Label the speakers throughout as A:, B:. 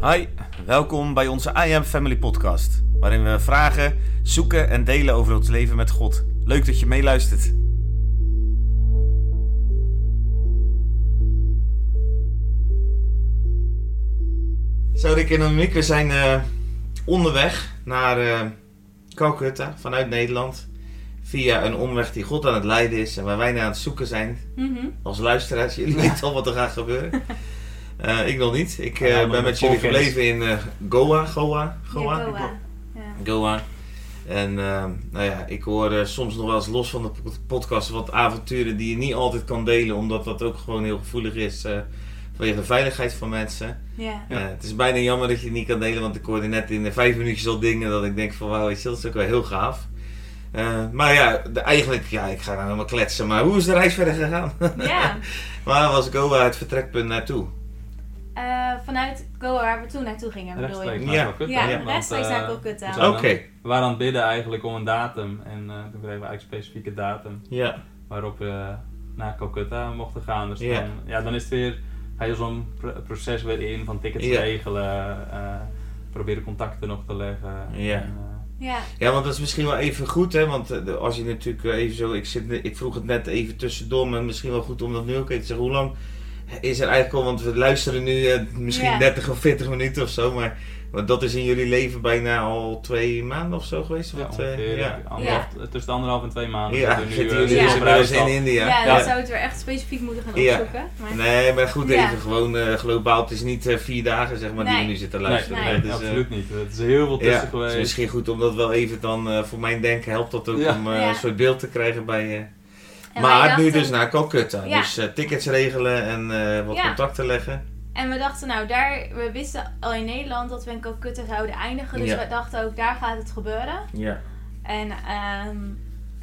A: Hi, welkom bij onze I Am Family podcast, waarin we vragen, zoeken en delen over ons leven met God. Leuk dat je meeluistert. Zo, Rick en Annemiek, we zijn eh, onderweg naar eh Calcutta vanuit Nederland. Via een omweg die God aan het leiden is en waar wij naar aan het zoeken zijn.
B: Mhm.
A: Als luisteraars, jullie weten al wat er gaat gebeuren. Eh, ik nog niet. Ik eh,
C: Ja, maar
A: ben
C: met
A: met jullie
C: volkennis.
A: gebleven in eh, Goa. Goa. Goa.
B: Ja, Goa.
C: Goa.
B: Ja.
A: Goa. En eh, nou ja, ik hoor eh, soms nog wel eens los van de pod- podcast wat avonturen die je niet altijd kan delen, omdat dat ook gewoon heel gevoelig is eh, vanwege de veiligheid van mensen.
B: Ja.
C: Ja.
A: Eh, het is bijna jammer dat je het niet kan delen, want ik hoorde net in de vijf minuutjes al dingen dat ik denk van wauw, weet je, dat is ook wel heel gaaf. Eh, maar ja, de- eigenlijk, ja, ik ga nou helemaal kletsen, maar hoe is de reis verder gegaan?
B: ja.
A: Waar was Goa het vertrekpunt naartoe?
B: Eh, vanuit Goa waar we toen naartoe gingen, bedoel je?
C: Rechtstreeks
A: Ja.
C: naar Calcutta.
B: Ja,
C: want,
B: rechtstreeks naar
C: eh,
B: Calcutta.
C: we
A: Oké,
C: zijn aan- We waren aan het bidden eigenlijk om een datum. En eh, toen kregen we eigenlijk een specifieke datum
A: ja.
C: waarop we naar Calcutta mochten gaan. Dus
A: Ja.
C: dan, ja, dan is het weer, ga je zo'n pr- proces weer in van tickets
A: Ja.
C: regelen, eh, proberen contacten nog te leggen.
A: Ja.
C: En, eh,
B: Ja.
A: Ja, want dat is misschien wel even goed, hè? Want eh, de- als je natuurlijk eh, even zo. Ik, zit, ne- ik vroeg het net even tussendoor, maar misschien wel goed om dat nu ook even te zeggen. Hoe lang is er eigenlijk al? Want we luisteren nu eh, misschien
B: Ja.
A: 30 of 40 minuten of zo, maar, maar dat is in jullie leven bijna al twee maanden of zo geweest.
C: ja,
A: Want, eh,
C: ongeveer
A: ja,
C: anderhalf, tussen de anderhalf en twee maanden.
A: ja,
C: zitten we
A: zitten
C: eh,
A: jullie
B: ja.
A: dus
C: op
A: inmiddels in
C: reis al.
A: India.
B: Ja, dan
C: Ja.
B: zou je het weer echt specifiek moeten gaan
A: Ja.
B: opzoeken. Maar...
A: Nee, maar goed,
B: Ja.
A: even gewoon eh, globaal. Het is niet eh, vier dagen, zeg maar, die
B: Nee.
A: je nu zit te
C: Nee,
A: luisteren.
B: Nee.
A: hè, dus, eh,
C: absoluut niet. Het is heel veel
A: Ja, dus
C: tussen
A: het is
C: geweest.
A: misschien goed om dat wel even dan eh, voor mijn denken helpt dat ook
C: Ja.
A: om eh,
B: Ja.
A: een soort beeld te krijgen bij je.
B: En wij
A: maar nu
B: dachten-
A: dus naar Calcutta.
B: Ja.
A: Dus eh, tickets regelen en eh, wat
B: Ja.
A: contacten leggen.
B: En we dachten, nou, daar, we wisten al in Nederland dat we in Calcutta zouden eindigen. Dus
A: Ja.
B: we dachten ook, daar gaat het gebeuren.
A: Ja.
B: En ehm,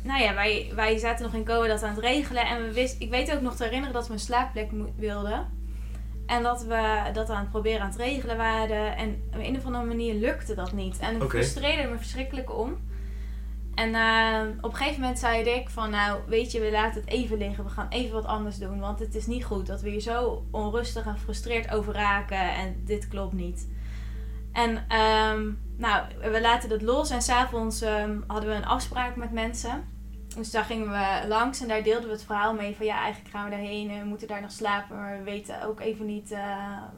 B: nou ja, wij, wij zaten nog in Goa dat aan het regelen. En we wist, ik weet ook nog te herinneren dat we een slaapplek mo- wilden. En dat we dat aan het proberen aan het regelen waren. En op een of andere manier lukte dat niet. En ik
A: Oké.
B: frustreerde me verschrikkelijk om. En ehm, op een gegeven moment zei ik van nou weet je we laten het even liggen. We gaan even wat anders doen. Want het is niet goed dat we hier zo onrustig en gefrustreerd over raken. En dit klopt niet. En ehm, nou, we laten dat los en s'avonds ehm hadden we een afspraak met mensen. Dus daar gingen we langs en daar deelden we het verhaal mee van ja, eigenlijk gaan we daarheen en we moeten daar nog slapen. Maar we weten ook even niet, eh,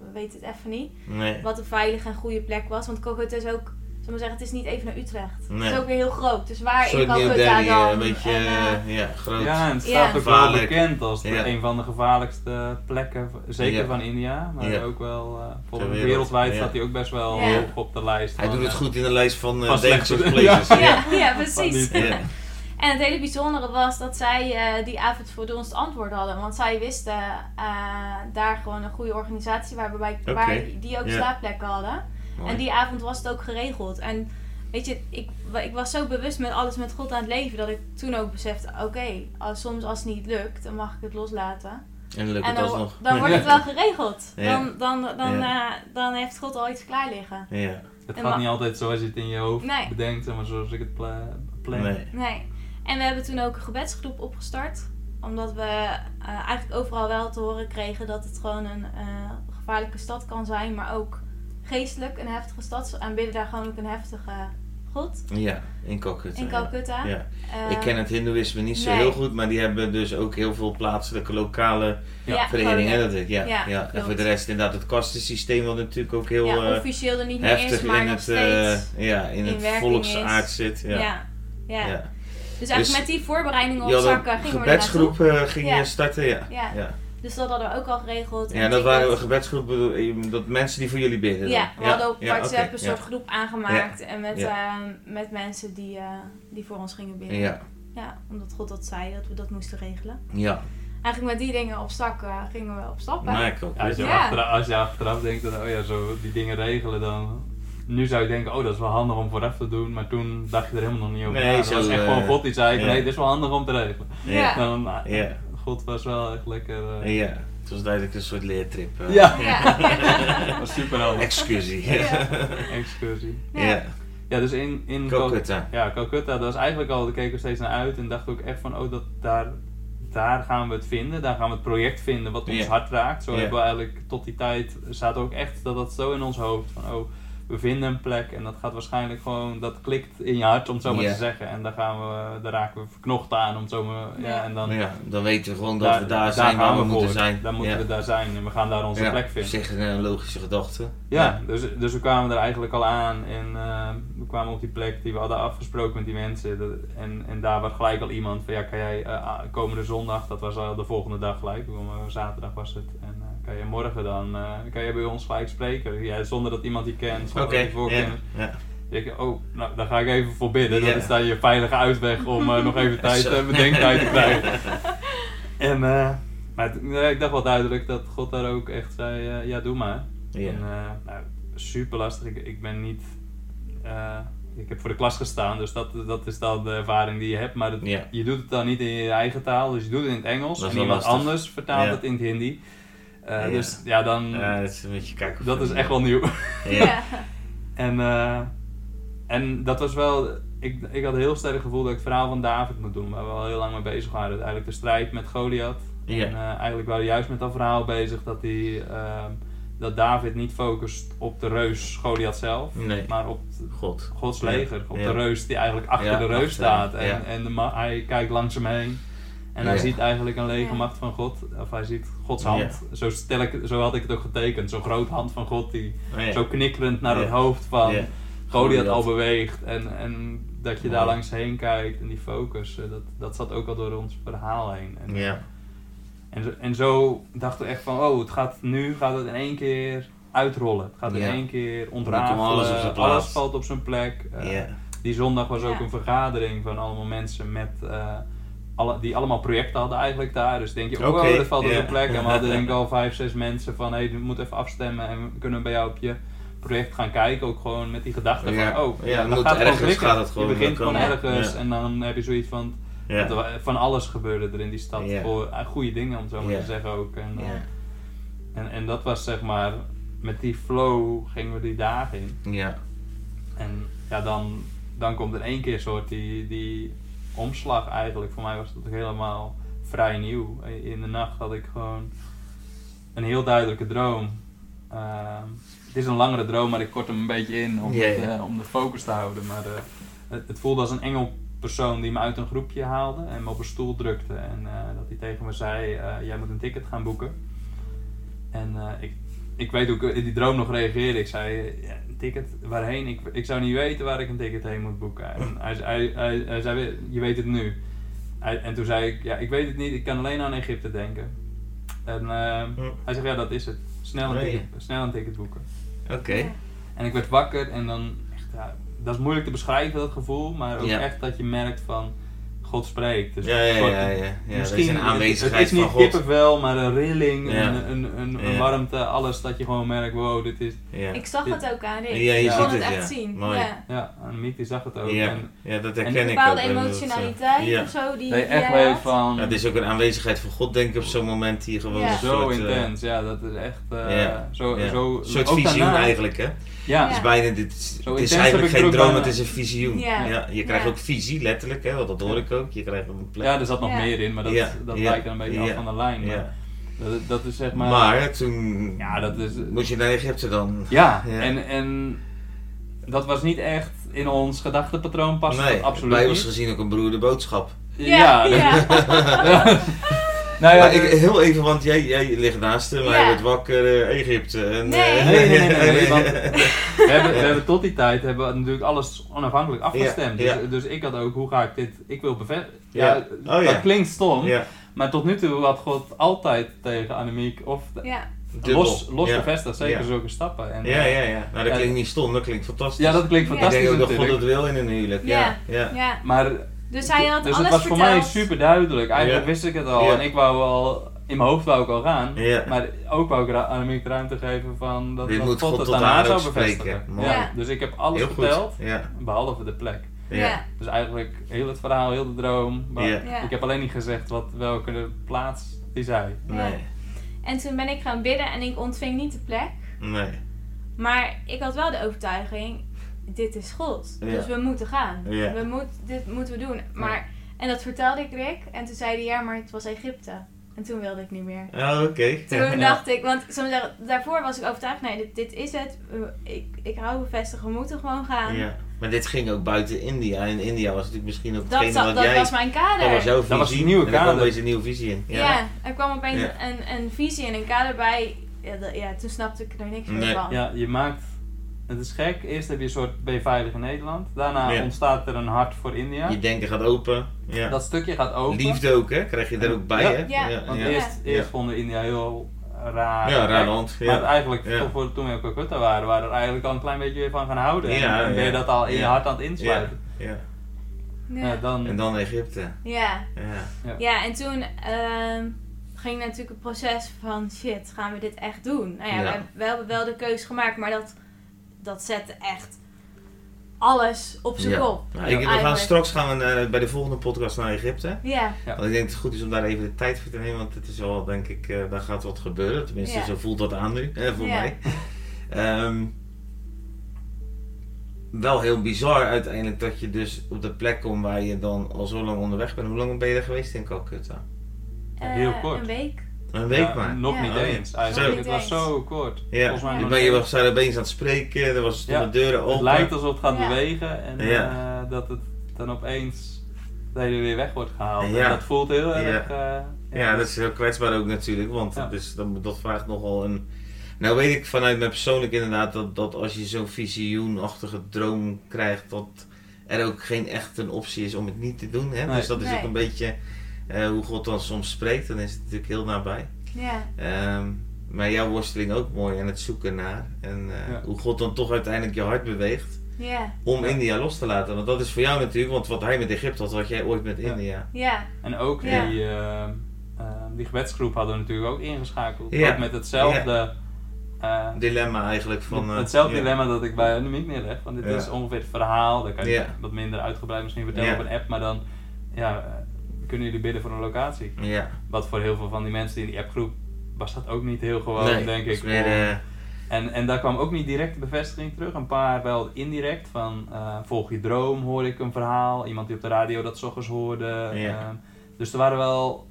B: we weten het even niet,
A: Nee.
B: wat een veilige en goede plek was. Want Calcutta is ook, zullen we zeggen, het is niet even naar Utrecht.
A: Nee.
B: Het is ook weer heel groot, dus waar
A: Soort
B: in
A: New
B: Calcutta
A: Delhi, eh,
B: dan?
A: een beetje
B: En, eh,
A: eh, ja, groot.
C: Ja, en het
B: Ja.
C: staat ook wel
A: Gevaarlijk.
C: bekend als de-
A: Ja.
C: een van de gevaarlijkste plekken, v- zeker
A: Ja.
C: van India, maar
A: Ja.
C: ook wel eh, volgens
A: wereld.
C: wereldwijd
A: Ja.
C: staat hij ook best wel
B: Ja.
C: hoog op de lijst.
A: Hij
C: van,
A: doet het
C: eh,
A: goed in de lijst van eh,
C: Van slechte-
A: Dangerous Places. Ja.
B: ja, ja, precies.
C: Van die-
A: Ja.
B: En het hele bijzondere was dat zij eh, die avond voor ons het antwoord hadden. Want zij wisten eh, daar gewoon een goede organisatie waarbij,
A: Oké,
B: waar die ook
A: ja.
B: slaapplekken hadden.
A: Mooi.
B: En die avond was het ook geregeld. En weet je, ik, wa- ik was zo bewust met alles met God aan het leven dat ik toen ook besefte: oké, als, soms als het niet lukt, dan mag ik het loslaten.
A: En lukt
B: en
A: het
B: dan,
A: alsnog.
B: dan wordt het wel geregeld.
A: Ja.
B: Dan, dan, dan,
A: Ja.
B: eh, dan heeft God al iets klaar liggen.
A: Ja.
C: Het
B: En
C: gaat
B: wa-
C: niet altijd zoals je het in je hoofd
B: Nee.
C: bedenkt, maar zoals ik het pla- plan.
A: Nee.
B: Nee. En we hebben toen ook een gebedsgroep opgestart. Omdat we eh, eigenlijk overal wel te horen kregen dat het gewoon een eh, gevaarlijke stad kan zijn. Maar ook geestelijk een heftige stad. Ze aanbidden daar gewoon ook een heftige god
A: Ja, in Calcutta.
B: in
A: ja.
B: Calcutta.
A: Ja.
B: Eh,
A: Ik ken het hindoeïsme niet zo
B: nee.
A: heel goed, maar die hebben dus ook heel veel plaatselijke lokale
C: Ja,
A: verenigingen. hè,
B: gewoon,
A: Dat ik, ja, ja,
B: Ja,
A: En
B: klopt.
A: voor de rest inderdaad het kastensysteem wat natuurlijk ook
B: ja,
A: heel eh,
B: officieel er niet meer
A: heftig
B: is, maar
A: in
B: nog
A: het, eh,
B: steeds.
A: ja, in
B: in
A: het
B: werking
A: volksaard
B: is.
A: zit.
B: ja.
A: Ja.
B: Ja.
A: Ja.
B: Dus eigenlijk
A: Dus
B: met die voorbereidingen op
A: Je had
B: zakken
A: een
B: gingen we er naartoe.
A: gebedsgroep eh, ging je
B: Ja.
A: starten, ja.
B: Ja.
A: ja.
B: Dus dat hadden we ook al geregeld.
A: Ja,
B: En
A: dat waren een
B: tickets.
A: gebedsgroep, bedoel- eh, dat mensen die voor jullie bidden.
B: Ja, we
A: dan.
B: hadden op
A: ja,
B: WhatsApp
A: oké,
B: een soort groep aangemaakt en met,
A: Ja.
B: ehm, met mensen die, eh, die voor ons gingen
A: Ja,
B: bidden.
A: ja,
B: Ja, omdat God dat zei dat we dat moesten regelen.
A: ja.
B: Eigenlijk met die dingen op zak eh, gingen we op stap. hè?
A: Nou, ik ook.
C: Ja, als, je
B: Ja.
C: Achteraf, als je achteraf denkt, dat, oh ja, zo die dingen regelen dan. Nu zou je denken, oh dat is wel handig om vooraf te doen, maar toen dacht je er helemaal nog niet over.
A: Nee,
C: na. Dat
A: zo,
C: was echt
A: eh,
C: gewoon God die zei,
A: ja.
C: nee, dit is wel handig om te regelen.
B: Ja.
C: Dan, nou,
A: Ja.
C: God was wel echt lekker... eh,
A: ja. Het was duidelijk een soort leertrip. eh.
C: Ja.
B: Ja.
C: Dat was super handig.
A: Excursie.
B: Ja.
C: Excursie.
B: Ja.
A: ja.
C: Ja, dus in, in Cal-
A: Calcutta.
C: ja, Calcutta, dat was eigenlijk al, daar keken we steeds naar uit en dachten ook echt van, oh, dat daar daar gaan we het vinden, daar gaan we het project vinden wat ons
A: Ja.
C: hart raakt. Zo
A: Ja.
C: hebben we eigenlijk tot die tijd, staat ook echt dat dat zo in ons hoofd van oh, we vinden een plek en dat gaat waarschijnlijk gewoon, dat klikt in je hart om het zo maar
A: Ja.
C: te zeggen. En daar, gaan we, daar raken we verknocht aan om het zo maar, ja.
B: Ja.
C: en dan
A: Nou ja, dan weten we gewoon dat we daar zijn
C: gaan
A: waar we moeten
C: voor.
A: zijn.
C: Dan moeten
A: ja.
C: we daar zijn en we gaan daar onze
A: Ja,
C: plek vinden.
A: Op zich een logische gedachte.
C: Ja, dus, dus we kwamen er eigenlijk al aan en eh, we kwamen op die plek die we hadden afgesproken met die mensen. Dat- en, en daar was gelijk al iemand van ja, kan jij eh, a- komende zondag, dat was al de volgende dag gelijk, want, eh, zaterdag was het. En eh, kan je morgen dan, eh, kan je bij ons gelijk spreken? Ja, zonder dat iemand die kent,
A: Oké,
C: zonder dat die
A: ja,
C: voorkennis.
A: ja.
C: Ik denk, oh, nou, daar ga ik even voor bidden.
A: Ja.
C: Dat is dan je veilige uitweg om eh, nog even tijd,
A: Zo.
C: eh, bedenktijd te krijgen. En, eh, maar het- nee, ik dacht wel duidelijk dat God daar ook echt zei, eh, ja, doe maar.
A: Ja.
C: En, eh, nou, super lastig. Ik, ik ben niet... eh, ik heb voor de klas gestaan, dus dat, dat is dan de ervaring die je hebt. Maar het-
A: Ja.
C: je doet het dan niet in je eigen taal, dus je doet het in het Engels.
A: Dat is
C: En
A: wel
C: iemand
A: lastig.
C: anders vertaalt
A: Ja.
C: het in het Hindi. Eh,
A: Ja.
C: Dus ja, dan...
A: Ja, dat is een beetje kijken. of-
C: dat is echt wel nieuw.
A: Ja.
C: En, eh, en dat was wel. Ik, ik had heel sterk het gevoel dat ik het verhaal van David moet doen, waar we al heel lang mee bezig waren. Dus Eigenlijk de strijd met Goliath.
A: Ja.
C: En eh, eigenlijk waren we juist met dat verhaal bezig dat, die, ehm, dat David niet focust op de reus Goliath zelf,
A: Nee,
C: maar op
A: god.
C: Gods leger. Op
A: Ja.
C: de reus die eigenlijk achter
A: Ja,
C: de
A: achter hem,
C: reus staat. En,
A: ja.
C: en de ma- hij kijkt langs hem heen. En hij
A: Ja.
C: ziet eigenlijk een lege
B: Ja.
C: macht van God. Of hij ziet Gods hand. Zo, stel ik, zo had ik het ook getekend. Zo'n groot hand van God die
A: Nee.
C: zo knikkerend naar het
A: Ja.
C: hoofd van
A: Ja.
C: Goliath
A: Goliath.
C: al beweegt. En, en dat je daar
A: Mooi.
C: langs heen kijkt en die focus. eh, Dat, dat zat ook al door ons verhaal heen. En,
A: Ja.
C: en, zo- en zo dachten we echt van, oh, het gaat nu gaat het in één keer uitrollen. Het gaat in
A: Ja.
C: één keer
A: komt
C: ontrafelen.
A: alles
C: Alles,
A: op zijn plaats.
C: valt op zijn plek. Eh,
A: Ja.
C: Die zondag was ook
B: Ja.
C: een vergadering van allemaal mensen met, eh, alle, die allemaal projecten hadden eigenlijk daar. Dus denk je, oh,
A: Oké,
C: oh, dat valt op
A: ja.
C: zijn plek. En we hadden denk ik al vijf, zes mensen van, hé, hey, we moeten even afstemmen en we kunnen bij jou op je project gaan kijken. Ook gewoon met die gedachte
A: Ja.
C: van, oh,
A: Ja, het
C: dat
A: moet
C: gaat gewoon
A: ergens
C: klikken.
A: gaat het gewoon
C: Je begint gewoon
A: komen.
C: ergens
A: Ja.
C: en dan heb je zoiets van,
A: Ja.
C: dat er Van alles gebeurde er in die stad.
A: Ja.
C: Voor, eh, goede dingen, om het zo maar
A: Ja.
C: te zeggen ook. En, eh,
A: Ja.
C: en, en dat was zeg maar, met die flow gingen we die dagen in.
A: Ja.
C: En ja, dan, dan komt in één keer soort die, die omslag eigenlijk. Voor mij was dat ook helemaal vrij nieuw. In de nacht had ik gewoon een heel duidelijke droom. Ehm, het is een langere droom, maar ik kort hem een beetje in om,
A: Ja,
C: het,
A: ja.
C: eh, om de focus te houden. Maar eh, het, het voelde als een engel persoon die me uit een groepje haalde en me op een stoel drukte. En eh, dat hij tegen me zei, eh, jij moet een ticket gaan boeken. En eh, ik, ik weet hoe ik in die droom nog reageerde. Ik zei, eh, ja, een ticket waarheen? Ik, ik zou niet weten waar ik een ticket heen moet boeken. En hij, hij, hij, hij zei, weer, je weet het nu. Hij- en toen zei ik, ja, ik weet het niet. Ik kan alleen aan Egypte denken. En ehm,
A: Hm.
C: hij zegt, ja, dat is het. Snel een,
A: Nee.
C: ticket, snel een ticket boeken.
A: Oké.
C: En ik werd wakker en dan echt, ja, dat is moeilijk te beschrijven, dat gevoel. Maar ook
A: Ja.
C: echt dat je merkt van, God spreekt. Dus
A: Ja,
C: een
A: ja,
C: soort-
A: ja, ja. ja. dat is
C: Misschien
A: een aanwezigheid
C: het, het is
A: van
C: niet
A: God.
C: kippenvel, maar een rilling,
A: Ja.
C: een, een, een, een
A: Ja.
C: warmte, alles dat je gewoon merkt, wow, dit is...
A: Ja.
B: Ik zag het ook aan Rick.
A: Ja, je
B: ik kon
A: ziet
B: het
A: het,
B: echt
A: ja.
B: zien.
A: Mooi.
B: Ja.
C: Ja, en Miek die zag het ook.
A: Ja.
C: En
A: ja, dat
C: en
A: herken
C: een
B: Een
A: ik
B: bepaalde
A: ook. dat, eh,
B: emotionaliteit
A: ja.
B: of zo. Die,
C: dat je
B: die
C: echt
B: jij
C: weet
B: had.
C: van,
A: Ja, Het is ook een aanwezigheid van God, denk ik, op zo'n moment hier gewoon.
B: Ja.
A: een
C: zo
A: soort, eh,
C: intens, ja, dat is echt... eh,
A: ja.
C: Zo,
A: ja.
C: Zo,
A: een soort
C: ook
A: visioen
C: daarna.
A: eigenlijk, hè? Het
C: Ja,
A: is
B: Ja.
A: bijna dit. het
C: Zo
A: is
C: intens heb
A: eigenlijk
C: ik
A: geen
C: het ook
A: droom,
C: bijna.
A: het is een visioen. Ja.
B: Ja.
A: je krijgt
B: Ja.
A: ook visie, letterlijk, hè? Want dat hoor ik ook. Je krijgt een plek.
C: ja, er zat nog
B: Ja.
C: meer in, maar dat,
A: Ja.
C: dat
A: Ja.
C: lijkt dan een beetje af
A: Ja.
C: van de lijn. maar
A: Ja.
C: Dat, dat is zeg maar...
A: Maar, toen
C: Ja, dat is...
A: moest je naar Egypte dan.
C: Ja,
A: Ja.
C: En, en dat was niet echt in ons gedachtepatroon past
A: nee,
C: dat absoluut
A: bij ons
C: niet.
A: gezien ook een broerde boodschap.
B: Ja,
C: dat-
B: ja.
C: nou ja,
A: Maar ik,
C: dus-
A: heel even, want jij, jij ligt naast hem, hij
B: Ja.
A: wordt wakker, eh, Egypte. En,
B: Nee.
A: eh,
C: Nee, nee, nee, nee, nee, want we hebben, we hebben tot die tijd hebben we natuurlijk alles onafhankelijk afgestemd.
A: Ja, ja.
C: Dus, dus ik had ook, hoe ga ik dit, ik wil bevestigen.
A: Ja.
C: Ja,
A: Oh, ja.
C: dat klinkt stom,
A: ja,
C: maar tot nu toe had God altijd tegen Annemiek, of de-
B: ja.
A: dubbel.
C: los, los
A: ja.
C: bevestigd, zeker
A: Ja.
C: zulke stappen. En,
A: Ja, ja, ja. Nou, dat
C: Ja.
A: klinkt niet stom, dat klinkt fantastisch.
C: ja, dat klinkt
B: Ja.
A: ik
C: fantastisch
A: denk ook dat God
C: natuurlijk.
A: het wil in een huwelijk. Ja, ja.
B: ja.
C: Maar
B: Dus hij had
C: dus
B: alles
C: het was
B: verteld.
C: voor mij super duidelijk. Eigenlijk
A: Ja.
C: wist ik het al
A: Ja.
C: en ik wou al, in mijn hoofd wou ik al gaan.
A: Ja.
C: Maar ook wou ik ra- Annemiek ruimte geven van dat,
A: Dit
C: dat
A: moet God
C: het
A: tot
C: daarna
A: haar
C: zou
A: ook spreken.
C: bevestigen.
A: Mooi.
C: Ja, Dus ik heb alles
A: Heel goed.
C: verteld.
A: Ja,
C: Behalve de plek.
A: ja.
B: Ja.
C: Dus eigenlijk heel het verhaal, heel de droom. Maar
A: Ja.
B: Ja.
C: ik heb alleen niet gezegd wat, welke plaats die zei.
A: Nee,
B: En toen ben ik gaan bidden en ik ontving niet de plek.
A: nee.
B: Maar ik had wel de overtuiging, dit is God.
A: Ja.
B: Dus we moeten gaan.
A: Ja.
B: We moet, dit moeten we doen. Maar En dat vertelde ik Rick. En toen zei hij, ja, maar het was Egypte. En toen wilde ik niet meer.
A: Oh, oké.
B: Toen
C: Ja.
B: dacht ik, want soms daar- daarvoor was ik overtuigd, nee, dit, dit is het. Eh, Ik, ik hou bevestigen, we moeten gewoon gaan.
A: Ja. Maar dit ging ook buiten India. En India was natuurlijk misschien ook
B: Dat,
A: hetgene
B: zat-
A: wat
B: dat
A: jij...
B: was mijn kader.
A: dat was jouw visie.
C: Dat was die nieuwe
A: en daar kwam
C: kader.
A: opeens een nieuwe visie in.
B: ja. er kwam opeens
A: Ja.
B: een, een visie en een kader bij. Ja, dat- ja, toen snapte ik er niks meer
A: Nee.
B: van.
C: Ja, je maakt. Het is gek. Eerst heb je een soort ben je veilig in Nederland. Daarna
A: Ja.
C: ontstaat er een hart voor India.
A: Je denken gaat open. Ja.
C: Dat stukje gaat open.
A: Liefde ook, hè? Krijg je er ook bij,
C: Ja.
A: hè?
B: Ja.
C: Want
A: ja.
C: eerst,
A: Ja.
C: eerst vonden India heel raar.
A: Ja, raar
C: Kijk,
A: land.
C: Maar
A: Ja.
C: eigenlijk,
A: Ja.
C: toch voor, toen we op Calcutta waren, waren we er eigenlijk al een klein beetje weer van gaan houden. En-
A: Ja,
C: en ben je
A: ja.
C: dat al in je
A: Ja.
C: hart aan het insluiten.
A: Ja.
B: Ja.
C: Ja. dan,
A: En dan Egypte.
B: Ja.
A: Ja.
B: Ja, en toen ehm, ging natuurlijk het proces van shit, gaan we dit echt doen? Nou ja,
A: Ja.
B: We, hebben- we hebben wel de keuze gemaakt, maar dat, dat zette echt alles op zijn
A: Ja.
B: kop.
A: Nou, ik, we gaan
B: Eigenlijk.
A: straks gaan we eh, bij de volgende podcast naar Egypte.
B: Ja,
C: Ja.
A: Want ik denk dat het goed is om daar even de tijd voor te nemen. Want het is wel, denk ik, eh, daar gaat wat gebeuren. Tenminste,
B: Ja.
A: zo voelt dat aan nu. eh, voor
B: Ja.
A: mij. Ehm, wel heel bizar uiteindelijk dat je dus op de plek komt waar je dan al zo lang onderweg bent. Hoe lang ben je daar geweest in Calcutta?
C: Ja, heel
B: eh,
C: kort.
B: Een week.
A: Een week
C: Ja,
A: maar.
C: Nog
B: Ja.
C: niet
A: Oh, ja.
C: eens.
A: Zo.
C: Eigenlijk.
B: Nog
C: Het
B: niet
C: was
B: eens.
C: zo kort.
A: Ja.
C: Volgens mij
A: Je
C: nog
A: ben je
C: niet.
A: was daar opeens aan het spreken. Er was stonden
C: Ja.
A: deuren open.
C: Het lijkt alsof het gaat
B: Ja.
C: bewegen en
A: Ja.
C: eh, dat het dan opeens dat je er weer weg wordt gehaald.
A: Ja.
C: En dat voelt heel
A: Ja.
C: erg. eh,
A: Ja, dat is heel kwetsbaar ook natuurlijk, want
C: Ja.
A: dus, dat, dat vraagt nogal een... Nou weet ik vanuit mijn persoonlijk inderdaad dat, dat als je zo'n visioenachtige droom krijgt, dat er ook geen echt een optie is om het niet te doen. Hè?
C: Nee.
A: Dus dat is
B: Nee.
A: ook een beetje eh, hoe God dan soms spreekt, dan is het natuurlijk heel nabij.
B: Ja,
A: Ehm, maar jouw worsteling ook mooi en het zoeken naar. En eh,
C: Ja.
A: hoe God dan toch uiteindelijk je hart beweegt
B: ja,
A: om
C: Ja.
A: India los te laten. Want dat is voor jou natuurlijk, want wat hij met Egypte had, had jij ooit met
C: Ja.
A: India.
B: ja,
C: En ook
B: Ja.
C: die, eh, eh, die gebedsgroep hadden we natuurlijk ook ingeschakeld.
A: Ja.
C: Ook met hetzelfde, eh,
A: Dilemma eigenlijk van... eh,
C: hetzelfde
A: ja.
C: dilemma dat ik bij Annemiek neerleg. Want dit
A: Ja.
C: is ongeveer het verhaal. Dat kan je
A: Ja.
C: wat minder uitgebreid misschien vertellen
A: Ja.
C: op een app. Maar dan ja, eh, kunnen jullie bidden voor een locatie.
A: Ja.
C: Wat voor heel veel van die mensen die in die appgroep was dat ook niet heel gewoon, denk
A: dat
C: ik.
A: is Meer,
C: om-
A: eh,
C: En, en daar kwam ook niet direct de bevestiging terug. Een paar wel indirect. Van eh, volg je droom hoorde ik een verhaal. Iemand die op de radio dat 's ochtends hoorde.
A: Ja.
C: Ehm, dus er waren wel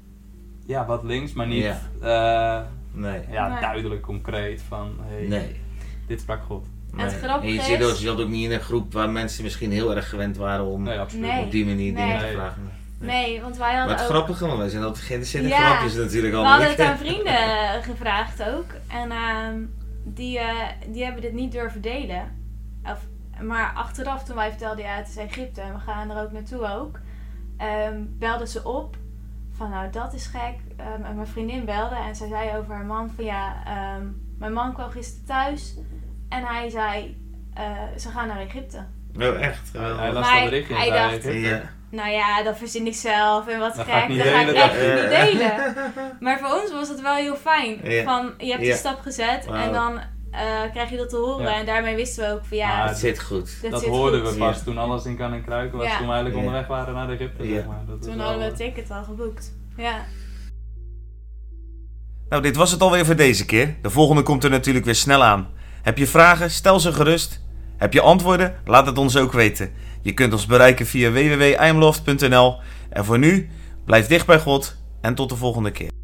C: ja, wat links, maar niet
A: Ja.
C: eh,
A: nee.
C: ja,
B: Nee.
C: duidelijk concreet van hey,
A: Nee. nee.
C: dit sprak God.
B: het grappige
A: en je zit
B: is-
A: ook, je zat ook niet in een groep waar mensen misschien heel erg gewend waren om
C: Nee, absoluut.
B: Nee.
A: op die manier dingen
B: Nee.
A: te vragen.
B: Nee, want wij
A: Maar
B: hadden
A: het
B: ook...
A: grappige, want wij zijn altijd geïnteresseerd in
B: Ja.
A: grapjes natuurlijk
B: we
A: allemaal.
B: hadden het aan vrienden eh, gevraagd ook. En ehm, die, eh, die hebben dit niet durven delen. Of, maar achteraf, toen wij vertelden, ja, het is Egypte en we gaan er ook naartoe ook. ehm, belden ze op van, nou, dat is gek. Ehm, en mijn vriendin belde en zij zei over haar man van, ja, ehm, mijn man kwam gisteren thuis. En hij zei, eh, ze gaan naar Egypte.
A: Oh, echt? Geweldig.
C: Hij las
B: Maar
C: dat berichtje
B: hij
C: en zei,
B: dacht-
A: Ja.
B: Nou ja, dat verzin ik zelf en wat
C: Dat
B: gek.
C: ga ik niet
B: dat ga ik
C: delen, dat-
B: echt niet
A: Eh.
B: delen. Maar voor ons was het wel heel fijn.
A: Ja.
B: Van, je hebt
A: Ja.
B: die stap gezet
A: Wauw.
B: en dan eh, krijg je dat te horen.
C: Ja.
B: En daarmee wisten we ook van ja,
C: Maar
A: Het zit goed.
B: dat,
C: dat
B: zit
C: hoorden
B: goed.
C: we pas
A: Ja.
C: toen alles in kan en kruiken was.
B: Ja.
C: Toen we eigenlijk
A: Ja.
C: onderweg waren naar Egypte.
A: Ja.
C: Zeg maar. Dat is
B: Toen
C: wel,
B: hadden we
C: eh,
B: het ticket al geboekt. Ja.
A: Nou, dit was het alweer voor deze keer. De volgende komt er natuurlijk weer snel aan. Heb je vragen? Stel ze gerust. Heb je antwoorden? Laat het ons ook weten. Je kunt ons bereiken via www.imloft.nl. En voor nu, blijf dicht bij God en tot de volgende keer.